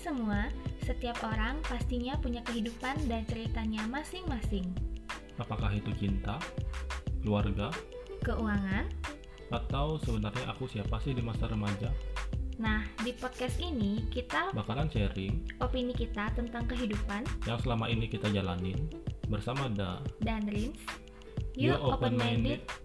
semua, setiap orang pastinya punya kehidupan dan ceritanya masing-masing. Apakah itu cinta, keluarga, Keuangan? atau sebenarnya aku siapa sih di masa remaja? Nah, di podcast ini kita Bakalan sharing opini kita tentang kehidupan yang selama ini kita jalanin bersama Da dan Rins. You Open Minded